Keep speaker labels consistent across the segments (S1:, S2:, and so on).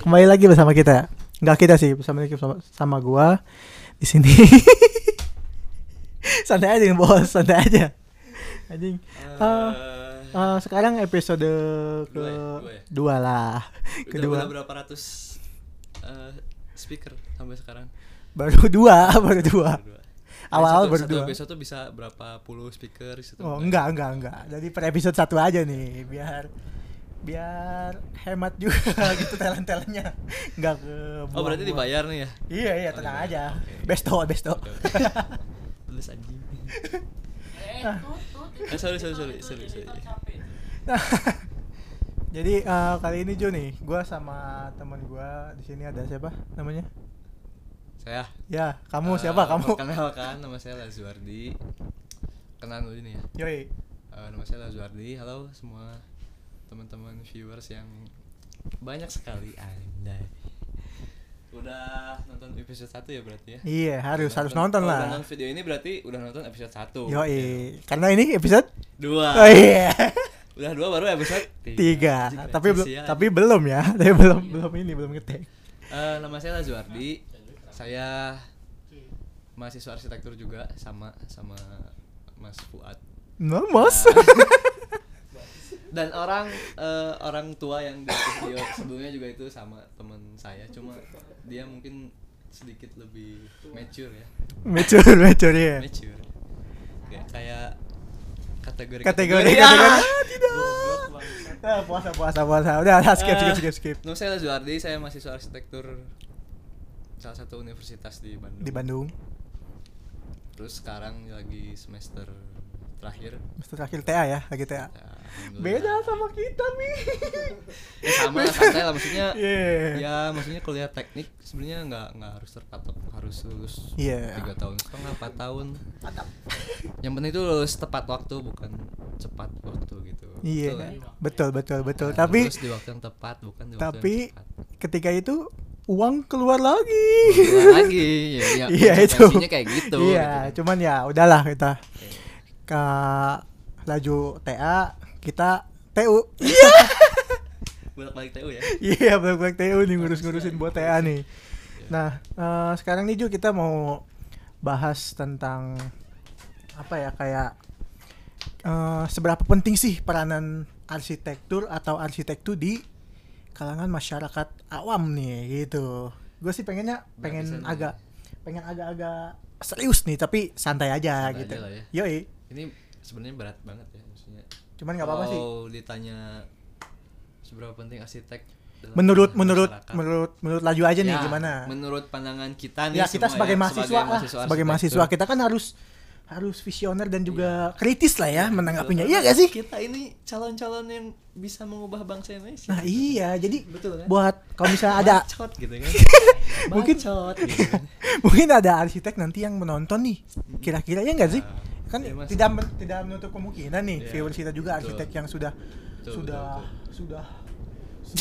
S1: kembali lagi bersama kita. Enggak kita sih, bersama sama, sama gua di sini. santai aja bos, santai aja. Anjing. Eh, eh, sekarang episode ke
S2: Dua ya? Dua ya?
S1: dua lah. Kedua.
S2: Udah, udah berapa ratus eh, speaker sampai sekarang?
S1: Baru dua, baru dua.
S2: Berdua.
S1: Awal
S2: Satu-
S1: baru
S2: satu
S1: dua.
S2: episode ya? tuh bisa berapa puluh speaker gitu? di situ?
S1: Oh, enggak, enggak, enggak. Jadi per episode satu aja nih, biar biar hemat juga gitu talent-talentnya. Enggak ke
S2: Oh, berarti
S1: buang-buang.
S2: dibayar nih ya?
S1: Iya, iya,
S2: Oh,
S1: tenang
S2: dibayar.
S1: aja.
S2: Oke.
S1: Besto, besto.
S2: Oke, oke. Terus anjing. Eh, sorry, sorry, sorry, sorry, sorry.
S1: Nah, Jadi eh, kali ini Jo nih, gue sama temen gue di sini ada siapa namanya?
S2: Saya.
S1: Ya, kamu
S2: eh,
S1: siapa kamu?
S2: Perkenalkan, nama saya Lazuardi. Kenalan dulu nih ya.
S1: Yoi,
S2: Eh, nama saya Lazuardi. Halo semua teman-teman viewers yang banyak sekali anda. Udah nonton episode 1 ya berarti ya?
S1: iya harus
S2: Udah
S1: harus nonton
S2: kalau udah
S1: lah.
S2: Nonton video ini berarti udah nonton episode 1.
S1: Yoi, karena ini episode
S2: Dua.
S1: oh, iya
S2: Udah dua baru episode
S1: tiga, Nah,
S2: Anjing,
S1: tapi belum
S2: sial.
S1: tapi belum ya, tapi belum belum ini belum ngetek.
S2: Eh, nama saya Lazuardi. Saya mahasiswa arsitektur juga sama sama Mas Fuad.
S1: Nah,
S2: Nah.
S1: Nomos.
S2: Dan orang eh, orang tua yang di video sebelumnya juga itu sama teman saya, cuma dia mungkin sedikit lebih mature ya.
S1: Mature, mature ya.
S2: Mature. Kayak kayak kategori
S1: Kategori,
S2: Ah,
S1: kategori.
S2: tidak. Ah.
S1: Ah, puasa, puasa, puasa. Udah, udah, Ah, skip, skip, skip, skip.
S2: Nama saya Lazuardi, saya mahasiswa arsitektur salah satu universitas di Bandung.
S1: Di Bandung,
S2: Terus sekarang lagi semester terakhir.
S1: Mr. Akhil TA ya, lagi TA.
S2: Ya, alhamdulillah.
S1: Beda sama kita nih.
S2: Ya, sama lah santai lah maksudnya.
S1: Iya.
S2: Ya maksudnya kuliah teknik sebenarnya nggak nggak harus terpatok harus lulus
S1: Iya.
S2: tiga tahun setengah empat tahun. Yang penting itu lulus tepat waktu bukan cepat waktu gitu.
S1: Iya,
S2: Betul kan?
S1: betul, betul, betul.
S2: Ya,
S1: Tapi
S2: lulus di waktu yang tepat bukan di waktu
S1: tapi
S2: yang cepat.
S1: ketika itu uang keluar lagi.
S2: Keluar lagi ya, ya
S1: Iya itu.
S2: konsekuensinya kayak gitu
S1: Iya,
S2: gitu.
S1: cuman ya udahlah kita
S2: Oke.
S1: ke laju TA kita TU.
S2: bolak-balik TU ya
S1: Iya, balik-balik TU nih ngurus-ngurusin buat TA nih.
S2: Iya.
S1: Nah, eh, sekarang nih Ju kita mau bahas tentang apa ya kayak eh, seberapa penting sih peranan arsitektur atau arsitektur di kalangan masyarakat awam nih gitu. Gue sih pengennya pengen
S2: Berapa persen nih?
S1: agak pengen agak-agak serius nih tapi santai aja
S2: Santai
S1: gitu.
S2: aja lah ya.
S1: Yoi.
S2: ini sebenarnya berat banget ya maksudnya
S1: Cuman nggak apa-apa sih.
S2: Kalau ditanya seberapa penting arsitek dalam
S1: Menurut
S2: masyarakat.
S1: menurut menurut menurut laju aja nih
S2: Ya,
S1: gimana?
S2: menurut pandangan kita nih
S1: ya kita
S2: semua
S1: sebagai mahasiswa
S2: sebagai
S1: lah,
S2: mahasiswa,
S1: sebagai
S2: arsitektur.
S1: mahasiswa kita kan harus harus visioner dan juga kritis lah ya menanggapinya
S2: Betul.
S1: iya gak sih
S2: kita ini calon-calon yang bisa mengubah bangsa Indonesia
S1: nah iya jadi
S2: Betul kan?
S1: buat kalau misalnya ada
S2: bacot gitu kan
S1: Mungkin-
S2: bacot gitu kan
S1: mungkin ada arsitek nanti yang menonton nih kira-kira ya nggak sih
S2: Nah,
S1: kan
S2: iya, Mas.
S1: tidak men- tidak menutup kemungkinan nih
S2: Iya,
S1: viewers kita juga
S2: betul.
S1: arsitek yang sudah
S2: Betul,
S1: sudah
S2: betul,
S1: sudah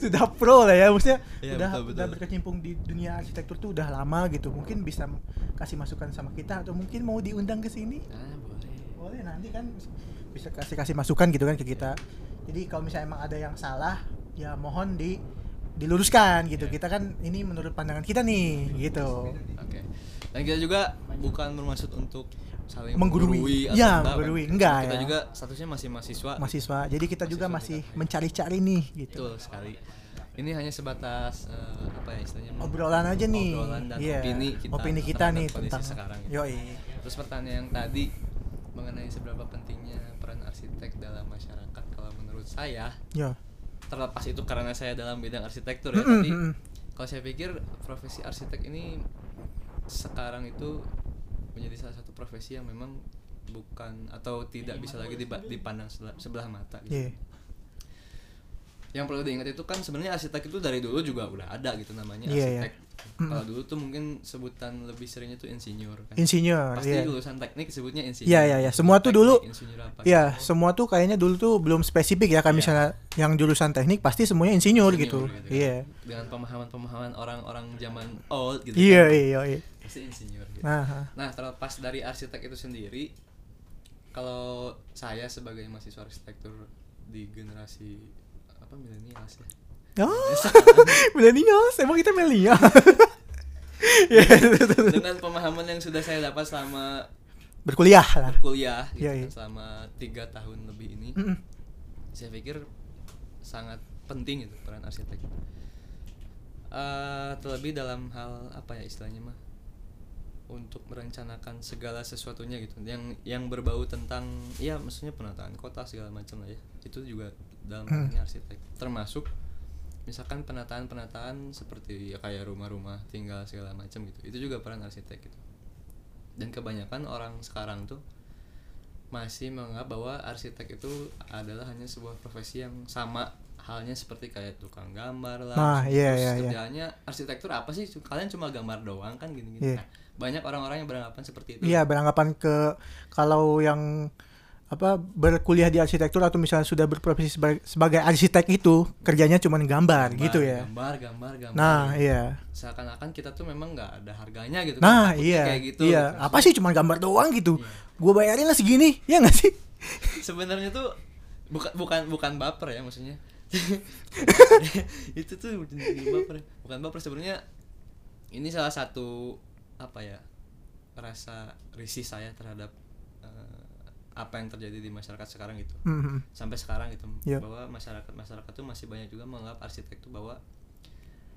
S1: sudah pro lah ya maksudnya
S2: Iya,
S1: udah
S2: betul,
S1: udah
S2: betul.
S1: berkecimpung di dunia arsitektur tuh udah lama gitu mungkin bisa m- kasih masukan sama kita atau mungkin mau diundang ke sini
S2: ah boleh
S1: boleh nanti kan bisa kasih kasih masukan gitu kan ke kita jadi kalau misalnya emang ada yang salah ya mohon di diluruskan gitu
S2: Iya.
S1: kita kan ini menurut pandangan kita nih gitu
S2: oke dan kita juga bukan bermaksud untuk saling
S1: Menggurui.
S2: menggurui atau
S1: Ya,
S2: apa kan.
S1: menggurui. Enggak,
S2: kita
S1: ya.
S2: juga statusnya masih mahasiswa
S1: mahasiswa jadi kita juga masih
S2: Mahasiswa kita.
S1: mencari-cari nih gitu
S2: Betul sekali. Ini hanya sebatas eh, apa ya istilahnya?
S1: obrolan aja nih
S2: Obrolan dan
S1: Iya.
S2: opini kita.
S1: Opini kita
S2: terhadap
S1: nih
S2: kondisi
S1: tentang
S2: sekarang. gitu.
S1: yoi
S2: Terus pertanyaan yang tadi mengenai seberapa pentingnya peran arsitek dalam masyarakat kalau menurut saya
S1: yo
S2: terlepas itu karena saya dalam bidang arsitektur ya
S1: Mm-mm,
S2: tapi
S1: mm-mm.
S2: kalau saya pikir profesi arsitek ini sekarang itu menjadi salah satu profesi yang memang bukan atau tidak bisa lagi diba- dipandang sebelah, sebelah mata gitu
S1: Iya.
S2: yang perlu diingat itu kan sebenarnya arsitek itu dari dulu juga udah ada gitu namanya
S1: Iya,
S2: arsitek. Kalau dulu tuh mungkin sebutan lebih seringnya tuh insinyur kan.
S1: insinyur
S2: Pasti
S1: iya
S2: lulusan teknik sebutnya insinyur.
S1: Iya, iya, iya. Semua tuh
S2: Teknik,
S1: dulu-
S2: insinyur apa gitu.
S1: Iya, semua tuh kayaknya dulu tuh belum spesifik ya kayak
S2: Iya.
S1: misalnya yang jurusan teknik pasti semuanya insinyur,
S2: Insinyur
S1: gitu
S2: gitu kan.
S1: iya
S2: Dengan pemahaman-pemahaman orang-orang zaman old gitu.
S1: iya
S2: kan.
S1: iya iya
S2: Pasti insinyur gitu.
S1: nah ha.
S2: Nah, terlepas dari arsitek itu sendiri, kalau saya sebagai mahasiswa arsitektur di generasi apa milenial sih?
S1: Oh,
S2: Desa.
S1: millennials. Emang kita milenial. Ya,
S2: dengan pemahaman yang sudah saya dapat selama
S1: berkuliah lah.
S2: kuliah gitu
S1: Iya,
S2: kan,
S1: iya.
S2: selama tiga tahun lebih ini
S1: Mm-mm.
S2: saya pikir sangat penting itu peran arsitek Eh, terlebih dalam hal apa ya istilahnya mah untuk merencanakan segala sesuatunya gitu yang yang berbau tentang ya maksudnya penataan kota segala macam lah ya itu juga dalam
S1: Hmm.
S2: artinya arsitek termasuk misalkan penataan penataan seperti ya kayak rumah-rumah tinggal segala macam gitu itu juga peran arsitek gitu dan kebanyakan orang sekarang tuh masih menganggap bahwa arsitek itu adalah hanya sebuah profesi yang sama halnya seperti kayak tukang gambar lah
S1: Nah, iya,
S2: terus
S1: iya, iya.
S2: kerjaannya arsitektur apa sih kalian cuma gambar doang kan gini-gini
S1: Iya.
S2: Nah, banyak orang-orang yang beranggapan seperti itu
S1: Iya, beranggapan ke kalau yang apa berkuliah di arsitektur atau misalnya sudah berprofesi sebagai, sebagai arsitek itu kerjanya cuman gambar,
S2: Gambar,
S1: gitu ya.
S2: gambar gambar gambar
S1: Nah, iya.
S2: seakan-akan kita tuh memang nggak ada harganya gitu kan,
S1: Nah,
S2: takutnya
S1: iya.
S2: kayak gitu
S1: iya.
S2: gitu.
S1: Apa sih cuman gambar doang gitu?
S2: Iya.
S1: Gua bayarin lah segini, ya nggak sih?
S2: sebenarnya tuh bukan bukan bukan baper ya maksudnya itu tuh jadi baper bukan baper sebenarnya ini salah satu apa ya rasa risih saya terhadap eh, apa yang terjadi di masyarakat sekarang gitu
S1: Mhm.
S2: sampai sekarang gitu
S1: Iya.
S2: bahwa masyarakat masyarakat tuh masih banyak juga menganggap arsitek tuh bahwa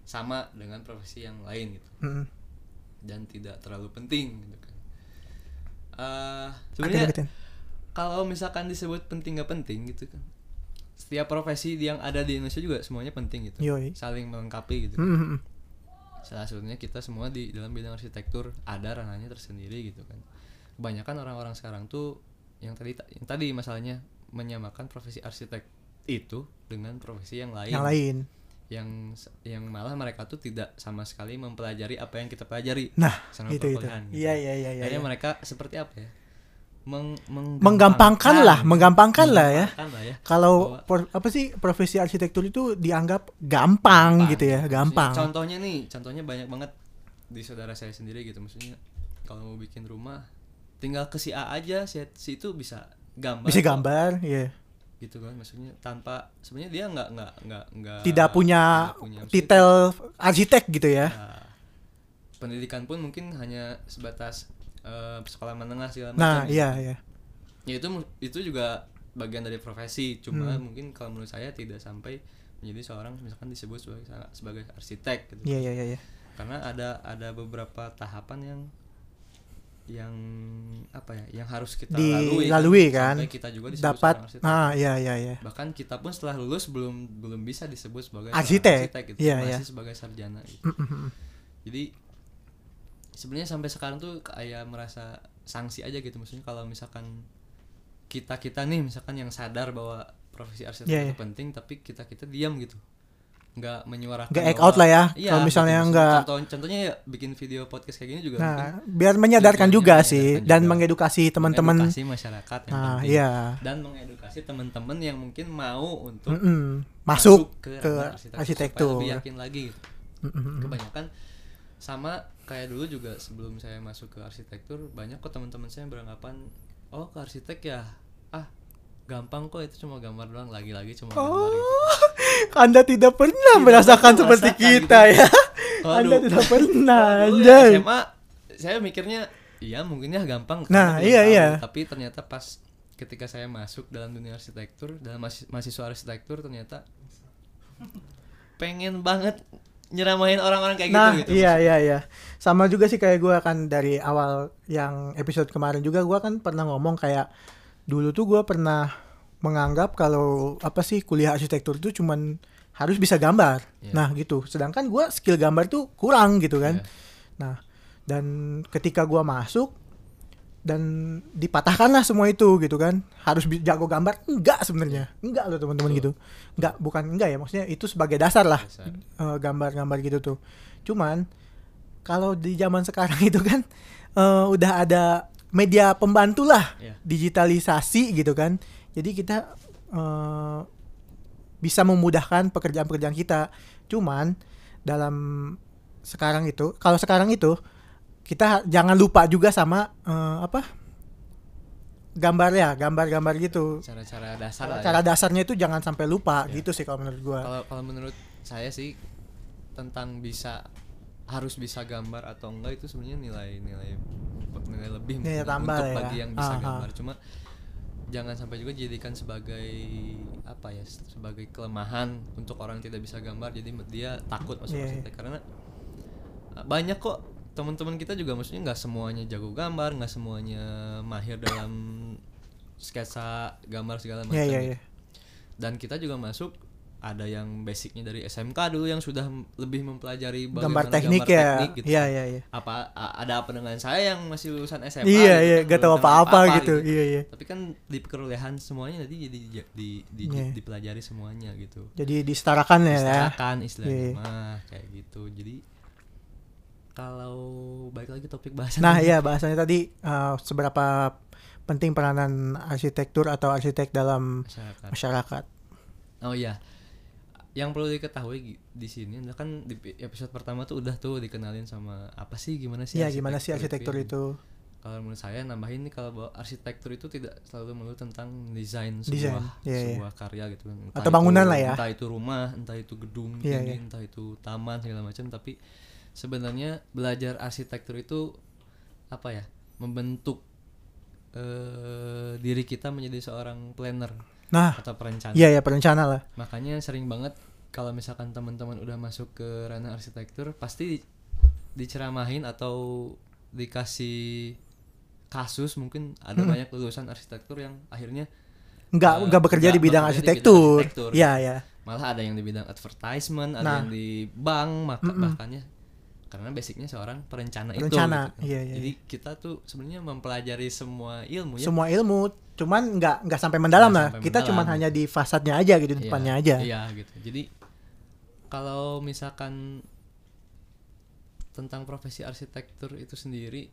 S2: sama dengan profesi yang lain gitu
S1: Mhm.
S2: dan tidak terlalu penting gitu kan. Eh,
S1: Deketin,
S2: sebenarnya
S1: deketin.
S2: kalau misalkan disebut penting nggak penting gitu kan. Setiap profesi yang ada di Indonesia juga semuanya penting gitu.
S1: Yoi.
S2: Saling melengkapi gitu.
S1: Mhm.
S2: Salah satunya kita semua di dalam bidang arsitektur ada ranahnya tersendiri gitu kan. Kebanyakan orang-orang sekarang tuh yang tadi yang tadi masalahnya menyamakan profesi arsitek itu dengan profesi yang lain
S1: Yang lain.
S2: yang yang malah mereka tuh tidak sama sekali mempelajari apa yang kita pelajari
S1: Nah,
S2: Sama
S1: gitu itu.
S2: perkuliahan, gitu.
S1: Iya, iya, iya, iya.
S2: akhirnya
S1: iya.
S2: mereka seperti apa ya Meng-
S1: Menggampangkan lah,
S2: Nah.
S1: menggampangkan lah ya.
S2: Menggampangkan lah ya.
S1: Kalau
S2: Bahwa-
S1: por- apa sih profesi arsitektur itu dianggap gampang, gitu ya,
S2: Maksudnya,
S1: gampang.
S2: Iya, contohnya nih contohnya banyak banget di saudara saya sendiri gitu maksudnya kalau mau bikin rumah tinggal ke si A aja si, si itu bisa gambar
S1: Bisa
S2: kok.
S1: gambar, iya.
S2: gitu kan maksudnya tanpa sebenarnya dia nggak nggak nggak nggak
S1: Tidak punya
S2: nggak maksudnya
S1: titel arsitek gitu ya.
S2: Nah, pendidikan pun mungkin hanya sebatas eh, sekolah menengah segala macam.
S1: Nah,
S2: gitu.
S1: iya, iya.
S2: Ya itu mu- itu juga bagian dari profesi, cuma
S1: Hmm.
S2: mungkin kalau menurut saya tidak sampai menjadi seorang misalkan disebut sebagai sebagai arsitek gitu.
S1: Iya, iya, iya, iya.
S2: Karena ada ada beberapa tahapan yang yang apa ya, yang harus kita lalui.
S1: Dilalui kan.
S2: Sampai kita juga disebut seorang
S1: Dapat
S2: arsitek.
S1: nah, iya, iya, iya.
S2: Bahkan kita pun setelah lulus belum belum bisa disebut sebagai seorang
S1: Arsitek.
S2: arsitek gitu.
S1: Iya,
S2: Masih
S1: iya.
S2: sebagai sarjana gitu
S1: Mhm.
S2: jadi sebenarnya sampai sekarang tuh kayak merasa sanksi aja gitu maksudnya kalau misalkan kita kita nih misalkan yang sadar bahwa profesi arsitek
S1: Iya,
S2: itu
S1: iya.
S2: penting tapi kita kita diam gitu nggak menyuarakan
S1: Nggak act
S2: bahwa-
S1: out lah ya,
S2: Iya,
S1: kalau
S2: gitu.
S1: misalnya
S2: Maksudnya
S1: nggak-
S2: contoh- contohnya ya bikin video podcast kayak gini juga mungkin
S1: Nah, biar menyadarkan
S2: Tujuannya
S1: juga
S2: menyadarkan
S1: sih
S2: juga.
S1: dan mengedukasi teman-teman.
S2: mengedukasi masyarakat yang
S1: Nah,
S2: penting.
S1: iya.
S2: dan mengedukasi teman-teman yang mungkin mau
S1: Mm,
S2: untuk
S1: Mm-mm. Masuk ke,
S2: ranah supaya
S1: arsitektur.
S2: lebih yakin lagi gitu.
S1: Mhm.
S2: kebanyakan sama kayak dulu juga sebelum saya masuk ke arsitektur banyak kok teman-teman saya yang beranggapan oh ke arsitek ya ah gampang kok itu cuma gambar doang lagi-lagi cuma gambar
S1: Oh,
S2: gitu.
S1: Anda tidak pernah merasakan
S2: pernah
S1: seperti
S2: Iya, merasakan gitu.
S1: kita ya.
S2: Kalau
S1: Anda
S2: dulu-
S1: tidak pernah.
S2: Kalau dulu
S1: anjay.
S2: ya, SMA saya mikirnya iya mungkinnya gampang karena
S1: Nah,
S2: belum
S1: iya,
S2: tahu."
S1: iya.
S2: tapi ternyata pas ketika saya masuk dalam dunia arsitektur dalam mahas- mahasiswa arsitektur ternyata pengen banget nyeramahin orang-orang kayak
S1: Nah,
S2: gitu gitu
S1: iya iya iya. Sama juga sih kayak gua kan dari awal yang episode kemarin juga gua kan pernah ngomong kayak dulu tuh gua pernah menganggap kalau apa sih kuliah arsitektur itu cuman harus bisa gambar.
S2: Iya.
S1: Nah, gitu. Sedangkan gua skill gambar tuh kurang gitu kan.
S2: Iya.
S1: Nah, dan ketika gua masuk dan dipatahkanlah semua itu gitu kan harus bi- jago gambar enggak sebenarnya enggak loh teman-teman gitu enggak bukan enggak ya maksudnya itu sebagai dasar lah
S2: Dasar.
S1: eh, gambar-gambar gitu tuh. Cuman kalau di zaman sekarang itu kan eh, udah ada media pembantu lah,
S2: Iya.
S1: digitalisasi gitu kan. Jadi kita eh, bisa memudahkan pekerjaan-pekerjaan kita. Cuman dalam sekarang itu, kalau sekarang itu kita ha- jangan lupa juga sama eh, apa gambar ya, gambar-gambar gitu.
S2: cara-cara dasar lah ya.
S1: Cara dasarnya itu jangan sampai lupa
S2: Iya.
S1: gitu sih kalau menurut gua.
S2: kalau kalau menurut saya sih tentang bisa harus bisa gambar atau enggak itu sebenarnya nilai-nilai nilai lebih
S1: Nilai
S2: mungkin
S1: tambah
S2: untuk
S1: ya.
S2: bagi yang bisa
S1: Aha.
S2: gambar cuma jangan sampai juga dijadikan sebagai apa ya sebagai kelemahan untuk orang yang tidak bisa gambar jadi dia takut masuk
S1: Iya, iya.
S2: arsitek karena uh, banyak kok teman-teman kita juga maksudnya nggak semuanya jago gambar nggak semuanya mahir dalam sketsa gambar segala macam
S1: Iya, iya,
S2: gitu
S1: iya.
S2: dan kita juga masuk ada yang basicnya dari SMK dulu yang sudah m- lebih mempelajari bagaimana
S1: Gambar teknik ya.
S2: teknik gitu.
S1: Iya, iya, iya.
S2: apa a- ada apa dengan saya yang masih lulusan
S1: Iya,
S2: SMA gitu
S1: iya,
S2: kan,
S1: gak tahu
S2: belum
S1: apa-apa gitu. Iya, iya.
S2: tapi kan di perkuliahan semuanya nanti jadi di, di, di-
S1: Iya.
S2: dipelajari semuanya gitu
S1: Jadi disetarakan ya. ya.
S2: Diserahkan istilahnya
S1: Iya.
S2: mah kayak gitu jadi kalau balik lagi topik bahasan
S1: Nah,
S2: ini,
S1: iya bahasanya tadi eh, seberapa penting peranan arsitektur atau arsitek dalam
S2: masyarakat
S1: masyarakat.
S2: Oh iya. Yang perlu diketahui gi- di sini adalah kan di pi- episode pertama tuh udah tuh dikenalin sama apa sih gimana sih
S1: Iya, gimana sih arsitektur itu?
S2: Kalau menurut saya nambahin nih kalau bahwa arsitektur itu tidak selalu melulu tentang desain
S1: Desain,
S2: sebuah
S1: iya, iya.
S2: sebuah karya gitu kan. Entah
S1: Atau bangunan
S2: itu-
S1: lah ya.
S2: Entah itu rumah, entah itu gedung
S1: Iya,
S2: ini,
S1: iya.
S2: entah itu taman segala macam tapi sebenarnya belajar arsitektur itu apa ya? membentuk eh diri kita menjadi seorang planner
S1: Nah,
S2: atau perencana
S1: iya ya perencana lah.
S2: makanya sering banget kalau misalkan teman-teman udah masuk ke ranah arsitektur pasti di- diceramahin atau dikasih kasus mungkin ada
S1: Hmm.
S2: banyak lulusan arsitektur yang akhirnya
S1: Enggak
S2: Eh,
S1: enggak bekerja
S2: nggak
S1: di bidang
S2: bekerja di bidang
S1: arsitektur.
S2: arsitektur.
S1: Iya, iya.
S2: malah ada yang di bidang advertisement ada
S1: Nah.
S2: yang di bank maka
S1: Mm-mm.
S2: bahkannya karena basicnya seorang perencana,
S1: Perencana,
S2: itu gitu kan.
S1: iya, iya,
S2: jadi kita tuh sebenarnya mempelajari semua ilmu ya
S1: Semua ilmu, cuman nggak nggak sampai mendalam
S2: Nggak
S1: lah.
S2: sampai
S1: Kita
S2: mendalam.
S1: cuman hanya di fasadnya aja gitu, di
S2: Iya,
S1: depannya aja.
S2: Iya gitu. Jadi kalau misalkan tentang profesi arsitektur itu sendiri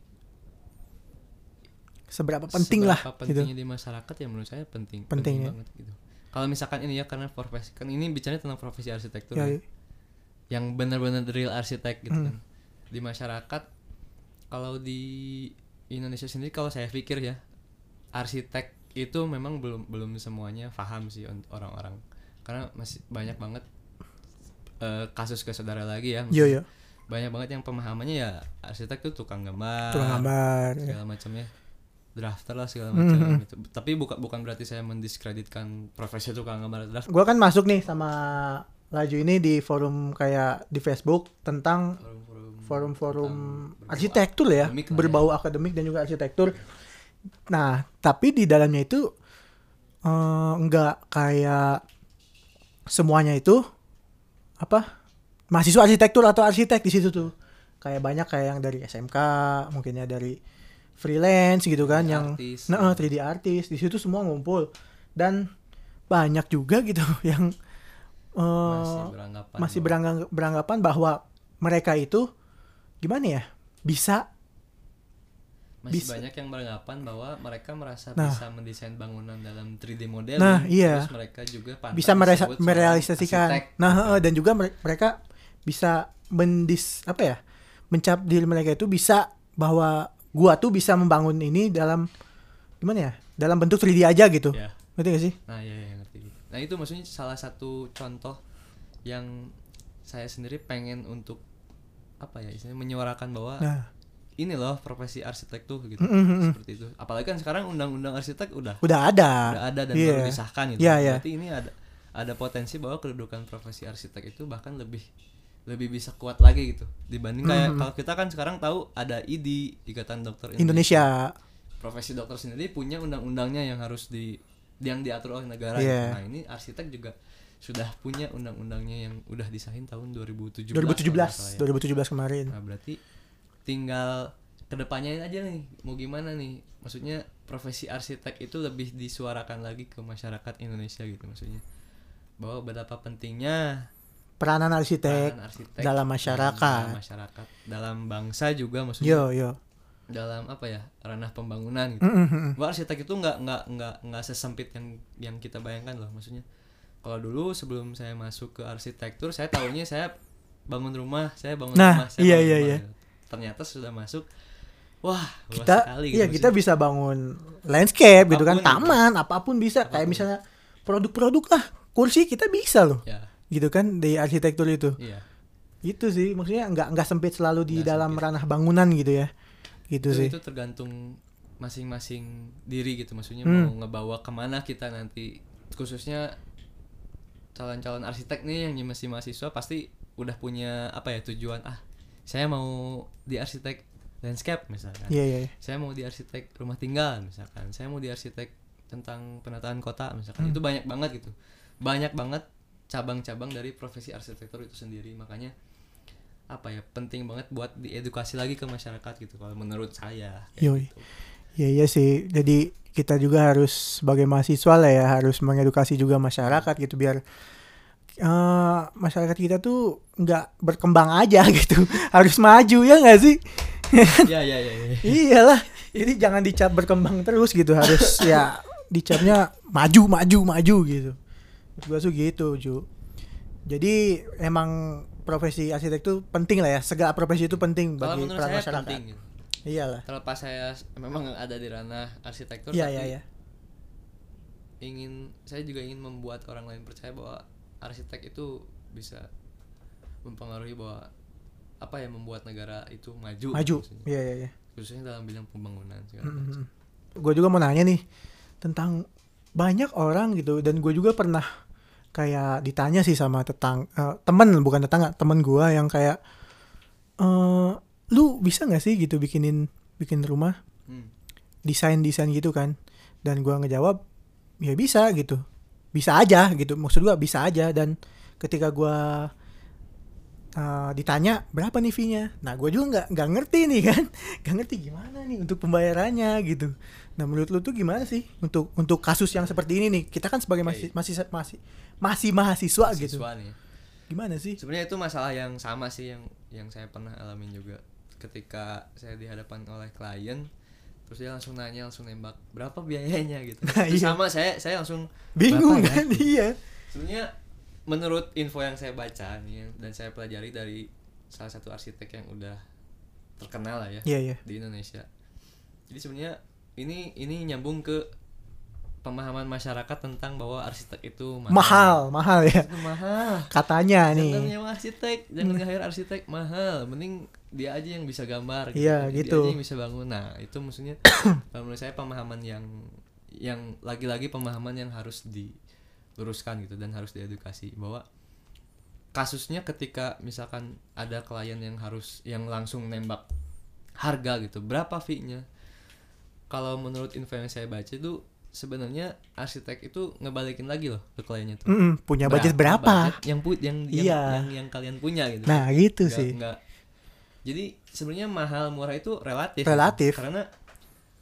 S1: Seberapa penting lah
S2: seberapa
S1: gitu.
S2: pentingnya di masyarakat ya menurut saya penting
S1: Penting, ya.
S2: banget gitu. Kalau misalkan ini ya karena profesi kan ini bicaranya tentang profesi arsitektur
S1: Ya,
S2: ya. yang benar-benar real arsitek
S1: Hmm.
S2: gitu kan. Di masyarakat kalau di Indonesia sendiri kalau saya pikir ya arsitek itu memang belum belum semuanya paham sih un- orang-orang karena masih banyak banget eh, kasus ke saudara lagi ya
S1: Yo yo,
S2: banyak banget yang pemahamannya ya arsitek tuh tukang gambar,
S1: tukang gambar. ya.
S2: segala macamnya drafter lah segala
S1: Mhm.
S2: macam gitu. tapi bukan bukan berarti saya mendiskreditkan profesi tukang gambar atau drafter
S1: Gua kan masuk nih sama Laju ini di forum kayak di Facebook tentang
S2: forum-forum
S1: forum-forum
S2: tentang
S1: arsitektur lah ya,
S2: akademik lah ya.
S1: berbau akademik dan juga arsitektur. Nah, tapi di dalamnya itu eh, nggak kayak semuanya itu apa mahasiswa arsitektur atau arsitek di situ tuh kayak banyak kayak yang dari SMK mungkinnya ya dari freelance gitu kan
S2: 3D
S1: yang
S2: artis.
S1: nah eh, 3D artis di situ semua ngumpul dan banyak juga gitu yang eh,
S2: masih beranggapan
S1: masih
S2: bahwa-
S1: berangga- beranggapan bahwa mereka itu gimana ya bisa
S2: masih
S1: Bisa.
S2: banyak yang beranggapan bahwa mereka merasa
S1: Nah.
S2: bisa mendesain bangunan dalam 3D model
S1: Nah, iya.
S2: terus mereka juga pandai
S1: bisa meresa-
S2: Ah, disebut seorang arsitek.
S1: merealisasikan nah heeh, dan juga mere- mereka bisa mendis apa ya mencap diri mereka itu bisa bahwa gua tuh bisa membangun ini dalam gimana ya dalam bentuk 3D aja gitu
S2: Ya.
S1: ngerti gak sih
S2: nah iya, iya, ngerti nah itu maksudnya salah satu contoh yang saya sendiri pengen untuk apa ya istilahnya menyuarakan bahwa
S1: nah
S2: ini loh profesi arsitek tuh gitu
S1: Mm, mm, mm.
S2: seperti itu apalagi kan sekarang undang-undang arsitek udah
S1: udah ada
S2: udah ada dan
S1: Iya.
S2: baru disahkan gitu.
S1: Iya, iya.
S2: Berarti ini ada ada potensi bahwa kedudukan profesi arsitek itu bahkan lebih lebih bisa kuat lagi gitu dibanding kayak
S1: Mm-hmm.
S2: kalau kita kan sekarang tahu ada ID Ikatan Dokter Indonesia.
S1: Indonesia
S2: Profesi dokter sendiri punya undang-undangnya yang harus di yang diatur oleh negara.
S1: Iya.
S2: gitu. Nah, ini arsitek juga sudah punya undang-undangnya yang udah disahin tahun 2017. kalau nggak
S1: 2017
S2: salah ya.
S1: 2017 kemarin
S2: Nah, berarti tinggal kedepannya aja nih, mau gimana nih? Maksudnya profesi arsitek itu lebih disuarakan lagi ke masyarakat Indonesia gitu maksudnya. Bahwa betapa pentingnya
S1: peranan arsitek
S2: peran arsitek
S1: dalam masyarakat.
S2: dalam masyarakat, dalam bangsa juga maksudnya.
S1: yo yo
S2: Dalam apa ya? ranah pembangunan gitu.
S1: Mm, mm, mm.
S2: Bahwa arsitek itu nggak nggak nggak nggak sesempit yang yang kita bayangkan loh maksudnya. Kalau dulu sebelum saya masuk ke arsitektur, saya tahunya saya bangun rumah, saya bangun
S1: Nah,
S2: rumah, saya
S1: iya,
S2: bangun
S1: iya,
S2: rumah. gitu.
S1: iya.
S2: Ternyata sudah masuk, wah luas
S1: kita
S2: sekali.
S1: iya
S2: gitu
S1: kita bisa
S2: maksudnya.
S1: bangun landscape gitu kan
S2: Apapun gitu.
S1: taman apapun bisa kayak
S2: Apapun.
S1: misalnya produk-produk lah kursi kita bisa loh
S2: Ya,
S1: gitu kan di arsitektur itu
S2: Iya.
S1: itu sih maksudnya nggak nggak sempit selalu di
S2: Nggak
S1: dalam
S2: sempit.
S1: ranah bangunan gitu ya gitu
S2: Itu,
S1: sih
S2: itu tergantung masing-masing diri gitu maksudnya
S1: Hmm.
S2: mau ngebawa kemana kita nanti khususnya calon-calon arsitek nih yang masih mahasiswa pasti udah punya apa ya tujuan ah saya mau di arsitek landscape misalkan
S1: iya iya iya.
S2: saya mau di arsitek rumah tinggal misalkan saya mau di arsitek tentang penataan kota misalkan
S1: Hmm.
S2: itu banyak banget gitu banyak banget cabang-cabang dari profesi arsitektur itu sendiri makanya apa ya penting banget buat diedukasi lagi ke masyarakat gitu kalau menurut saya kayak
S1: Yoi.
S2: gitu.
S1: Iya iya sih. Jadi kita juga harus sebagai mahasiswa lah ya harus mengedukasi juga masyarakat gitu biar eh, masyarakat kita tuh nggak berkembang aja gitu. harus maju ya nggak sih?
S2: ya ya ya, ya.
S1: Iyalah. Jadi jangan dicap berkembang terus gitu. Harus ya dicapnya maju maju maju gitu. Gue tuh gitu Ju. Jadi emang profesi arsitek tuh penting lah ya. Segala profesi itu penting
S2: kalau
S1: bagi
S2: menurut
S1: peran
S2: saya
S1: masyarakat.
S2: penting gitu.
S1: Iyalah.
S2: terlepas saya s- memang ada di ranah arsitektur
S1: Iya
S2: tapi
S1: iya iya.
S2: ingin saya juga ingin membuat orang lain percaya bahwa arsitek itu bisa mempengaruhi bahwa apa ya membuat negara itu maju
S1: Maju.
S2: maksudnya.
S1: Iya iya iya.
S2: khususnya dalam bidang pembangunan segala
S1: Hmm,
S2: macam.
S1: Gue juga mau nanya nih tentang banyak orang gitu dan gue juga pernah kayak ditanya sih sama tetang eh, temen bukan tetangga temen gue yang kayak eh lu bisa nggak sih gitu bikinin bikin rumah
S2: Hmm.
S1: desain desain gitu kan dan gue ngejawab ya bisa gitu bisa aja gitu maksud gue bisa aja dan ketika gue eh, ditanya berapa nih fee-nya nah gue juga nggak nggak ngerti nih kan nggak ngerti gimana nih untuk pembayarannya gitu nah menurut lu tuh gimana sih untuk untuk kasus yang seperti ini nih kita kan sebagai masih
S2: Oke.
S1: masih masih masih mahasiswa gitu
S2: Siswa Hmm, nih.
S1: gimana sih
S2: Sebenarnya itu masalah yang sama sih yang yang saya pernah alamin juga ketika saya dihadapan oleh klien terus dia langsung nanya langsung nembak berapa biayanya gitu.
S1: Nah,
S2: Terus
S1: iya.
S2: sama saya saya langsung
S1: bingung
S2: "Berapa ya?"
S1: kan iya
S2: Sebenarnya menurut info yang saya baca nih yang- dan saya pelajari dari salah satu arsitek yang udah terkenal lah ya
S1: iya iya
S2: di Indonesia. Jadi sebenarnya ini ini nyambung ke pemahaman masyarakat tentang bahwa arsitek itu
S1: mahal mahal ya
S2: Itu mahal.
S1: katanya
S2: Jangan
S1: Iya, nih
S2: nyewa arsitek, jangan nge-hire arsitek mahal. Mending dia aja yang bisa gambar.
S1: Iya,
S2: Dia
S1: gitu.
S2: aja yang bisa bangun. Nah itu maksudnya kalau menurut saya pemahaman yang yang lagi-lagi pemahaman yang harus diluruskan gitu dan harus diedukasi bahwa kasusnya ketika misalkan ada klien yang harus yang langsung nembak harga gitu berapa fee-nya kalau menurut info yang saya baca itu sebenarnya arsitek itu ngebalikin lagi loh ke kliennya tuh
S1: Mm-mm, punya budget berapa
S2: Nah, budget yang pu- yang, yang-
S1: Iya.
S2: yang yang kalian punya gitu.
S1: nah gitu
S2: Nggak-
S1: sih
S2: nggak- Jadi sebenarnya mahal murah itu relatif.
S1: Relatif.
S2: Karena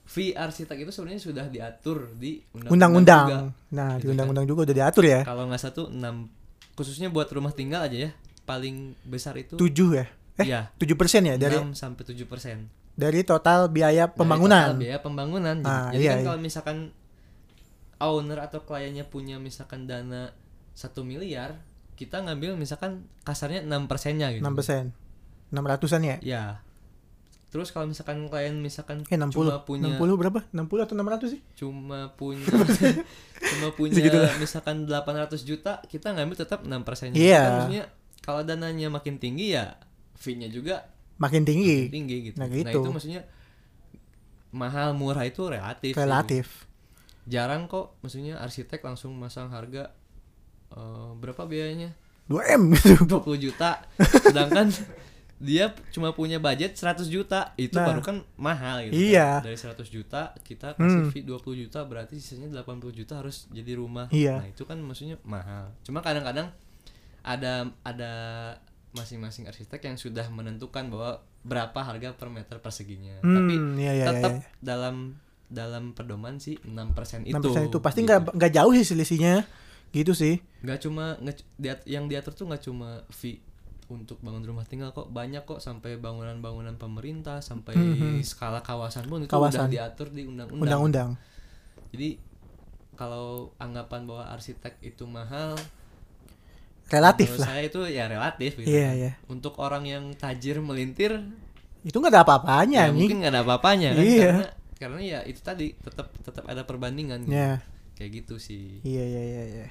S2: fee arsitek itu sebenarnya sudah diatur di
S1: undang-undang. Nah, di
S2: Gitu kan.
S1: undang-undang juga udah diatur ya.
S2: juga. Kalau nggak satu enam khususnya buat rumah tinggal aja ya paling besar itu
S1: 7 ya. Eh,
S2: ya
S1: 7% ya dari
S2: 6 sampai 7 persen
S1: dari total biaya pembangunan.
S2: biaya pembangunan Jadi-
S1: Ah,
S2: jadi
S1: iya,
S2: kan
S1: iya.
S2: kalau misalkan owner atau kliennya punya misalkan dana satu miliar kita ngambil misalkan kasarnya enam persennya gitu
S1: 6%. 600-an ya?
S2: Ya. Terus kalau misalkan klien misalkan
S1: Eh 60.
S2: Iya, cuma punya
S1: 60 berapa? 60 atau 600 sih?
S2: cuma punya cuma punya
S1: Segitulah.
S2: misalkan 800 juta, kita ngambil tetap 6 persen.
S1: Iya.
S2: maksudnya kalau dananya makin tinggi ya fee-nya juga
S1: Makin tinggi.
S2: makin tinggi gitu.
S1: Nah, gitu.
S2: itu maksudnya mahal murah itu relatif. sih.
S1: Relatif.
S2: Jarang kok maksudnya arsitek langsung masang harga eh, berapa biayanya?
S1: 2M gitu.
S2: 20 juta sedangkan dia cuma punya budget 100 juta itu
S1: Nah.
S2: baru kan mahal gitu kan.
S1: Iya.
S2: dari 100 juta kita kasih
S1: Hmm.
S2: fee 20 juta berarti sisanya 80 juta harus jadi rumah
S1: Iya.
S2: nah itu kan maksudnya mahal cuma kadang-kadang ada ada masing-masing arsitek yang sudah menentukan bahwa berapa harga per meter perseginya tapi
S1: Hmm, iya iya iya,
S2: tetap
S1: iya.
S2: dalam dalam pedoman sih 6% itu
S1: 6% itu pasti
S2: gitu.
S1: nggak nggak jauh sih selisihnya. Gitu sih.
S2: nggak cuma nggak cu- diat- yang diatur tuh nggak cuma fee untuk bangun rumah tinggal kok banyak kok sampai bangunan-bangunan pemerintah sampai
S1: Mhm.
S2: skala kawasan pun itu udah
S1: Kawasan.
S2: diatur di undang-undang.
S1: Undang-undang.
S2: Jadi kalau anggapan bahwa arsitek itu mahal,
S1: Relatif
S2: menurut
S1: lah.
S2: saya itu ya relatif gitu.
S1: Iya,
S2: kan.
S1: iya.
S2: Untuk orang yang tajir melintir,
S1: Itu nggak ada apa-apanya Iya,
S2: ya
S1: anjing.
S2: mungkin nggak ada apa-apanya kan
S1: Iya.
S2: karena karena ya itu tadi tetap tetap
S1: Iya.
S2: ada perbandingan gitu.
S1: Ya.
S2: Kayak gitu sih.
S1: Iya iya iya iya.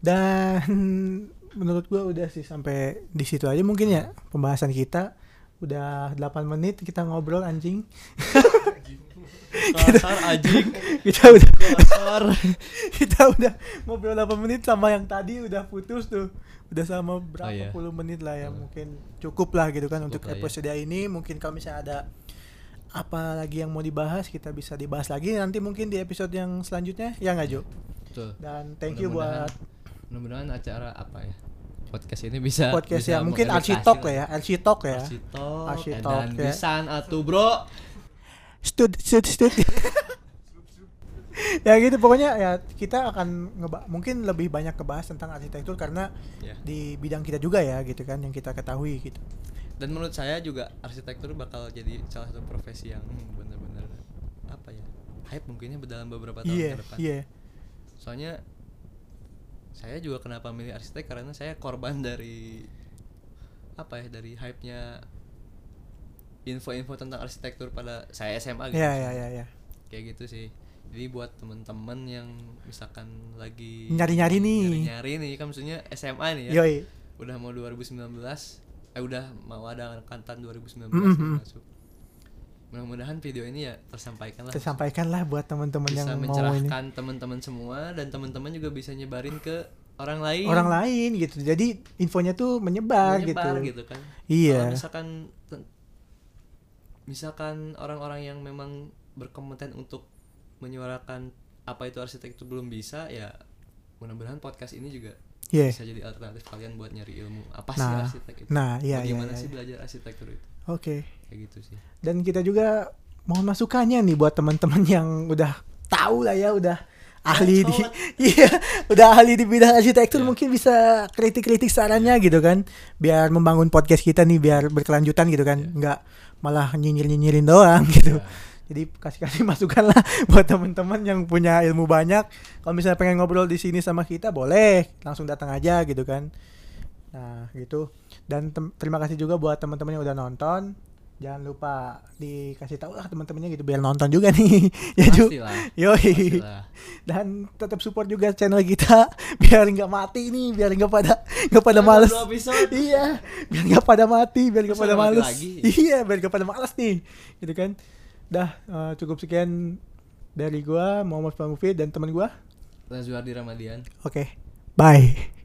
S1: Dan menurut gua udah sih sampai di situ aja mungkin ya pembahasan kita udah 8 menit kita ngobrol anjing
S2: kasar anjing
S1: kita udah
S2: Gitu. kasar
S1: kita udah ngobrol 8 menit sama yang tadi udah putus tuh udah sama berapa
S2: iya.
S1: puluh menit lah ya
S2: Hmm.
S1: mungkin cukup lah gitu kan
S2: Cukup
S1: untuk
S2: lah ya.
S1: episode ini mungkin kalau misalnya ada apa lagi yang mau dibahas kita bisa dibahas lagi nanti mungkin di episode yang selanjutnya ya nggak Jo
S2: Betul.
S1: dan thank you
S2: Mudah-mudahan-
S1: buat
S2: mudah-mudahan acara apa ya podcast ini bisa
S1: podcast
S2: bisa
S1: ya mungkin
S2: mengedukasi
S1: Arsitok lah ya Arsitok ya
S2: Arsitok,
S1: Arsitok,
S2: dan
S1: ya.
S2: pisan atuh bro
S1: stud stud stud ya gitu pokoknya ya kita akan ngeba- mungkin lebih banyak ngebahas tentang arsitektur karena
S2: Ya.
S1: di bidang kita juga ya gitu kan yang kita ketahui gitu
S2: dan menurut saya juga arsitektur bakal jadi salah satu profesi yang hmm, bener-bener apa ya hype mungkinnya dalam beberapa tahun
S1: iya
S2: ke depan Ah,
S1: iya
S2: soalnya saya juga kenapa milih arsitek karena saya korban dari apa ya dari hype nya info-info tentang arsitektur pada saya SMA gitu
S1: iya iya iya iya
S2: kayak gitu sih jadi buat temen-temen yang misalkan lagi
S1: Nyari-nyari nih. Iya.
S2: nyari-nyari nih kan maksudnya SMA nih ya
S1: yoi
S2: udah mau 2019 eh udah mau ada angkatan 2019
S1: Mm,
S2: yang
S1: mm.
S2: masuk mudah-mudahan video ini ya tersampaikan lah
S1: tersampaikan lah buat teman-teman yang mau
S2: bisa
S1: ini
S2: mencerahkan teman-teman semua dan teman-teman juga bisa nyebarin ke orang lain
S1: orang lain gitu jadi infonya tuh menyebar,
S2: menyebar
S1: gitu.
S2: gitu kan
S1: Iya.
S2: Kalau misalkan ten- misalkan orang-orang yang memang berkompeten untuk menyuarakan apa itu arsitektur belum bisa ya mudah-mudahan podcast ini juga
S1: Iya.
S2: bisa jadi alternatif kalian buat nyari ilmu apa sih
S1: nah
S2: arsitek itu
S1: nah iya iya,
S2: bagaimana
S1: iya,
S2: sih
S1: iya.
S2: belajar arsitektur itu
S1: oke
S2: kayak gitu sih
S1: dan kita juga mohon masukannya nih buat teman-teman yang udah tahu lah ya udah ahli di
S2: Bacot.
S1: iya udah ahli di bidang arsitektur
S2: Iya.
S1: mungkin bisa kritik-kritik sarannya gitu kan biar membangun podcast kita nih biar berkelanjutan gitu kan
S2: Iya.
S1: nggak malah nyinyir-nyinyirin doang gitu
S2: Ya.
S1: jadi kasih-kasih masukan lah buat teman-teman yang punya ilmu banyak kalau misalnya pengen ngobrol di sini sama kita boleh langsung datang aja gitu kan nah gitu dan tem- terima kasih juga buat teman-teman yang udah nonton jangan lupa dikasih tahu lah teman-temannya gitu biar nonton juga nih ya Ju
S2: pastilah
S1: yoi
S2: pastilah
S1: dan tetap support juga channel kita biar nggak mati nih biar nggak pada nggak pada
S2: Karena
S1: males
S2: baru episode.
S1: iya biar nggak pada mati biar nggak
S2: Masa
S1: pada
S2: nggak mati
S1: males
S2: lagi?
S1: iya biar nggak pada males nih gitu kan dah eh, cukup sekian dari gua Muhammad Pamufi dan teman gua
S2: Lazuardi Ramadian
S1: oke bye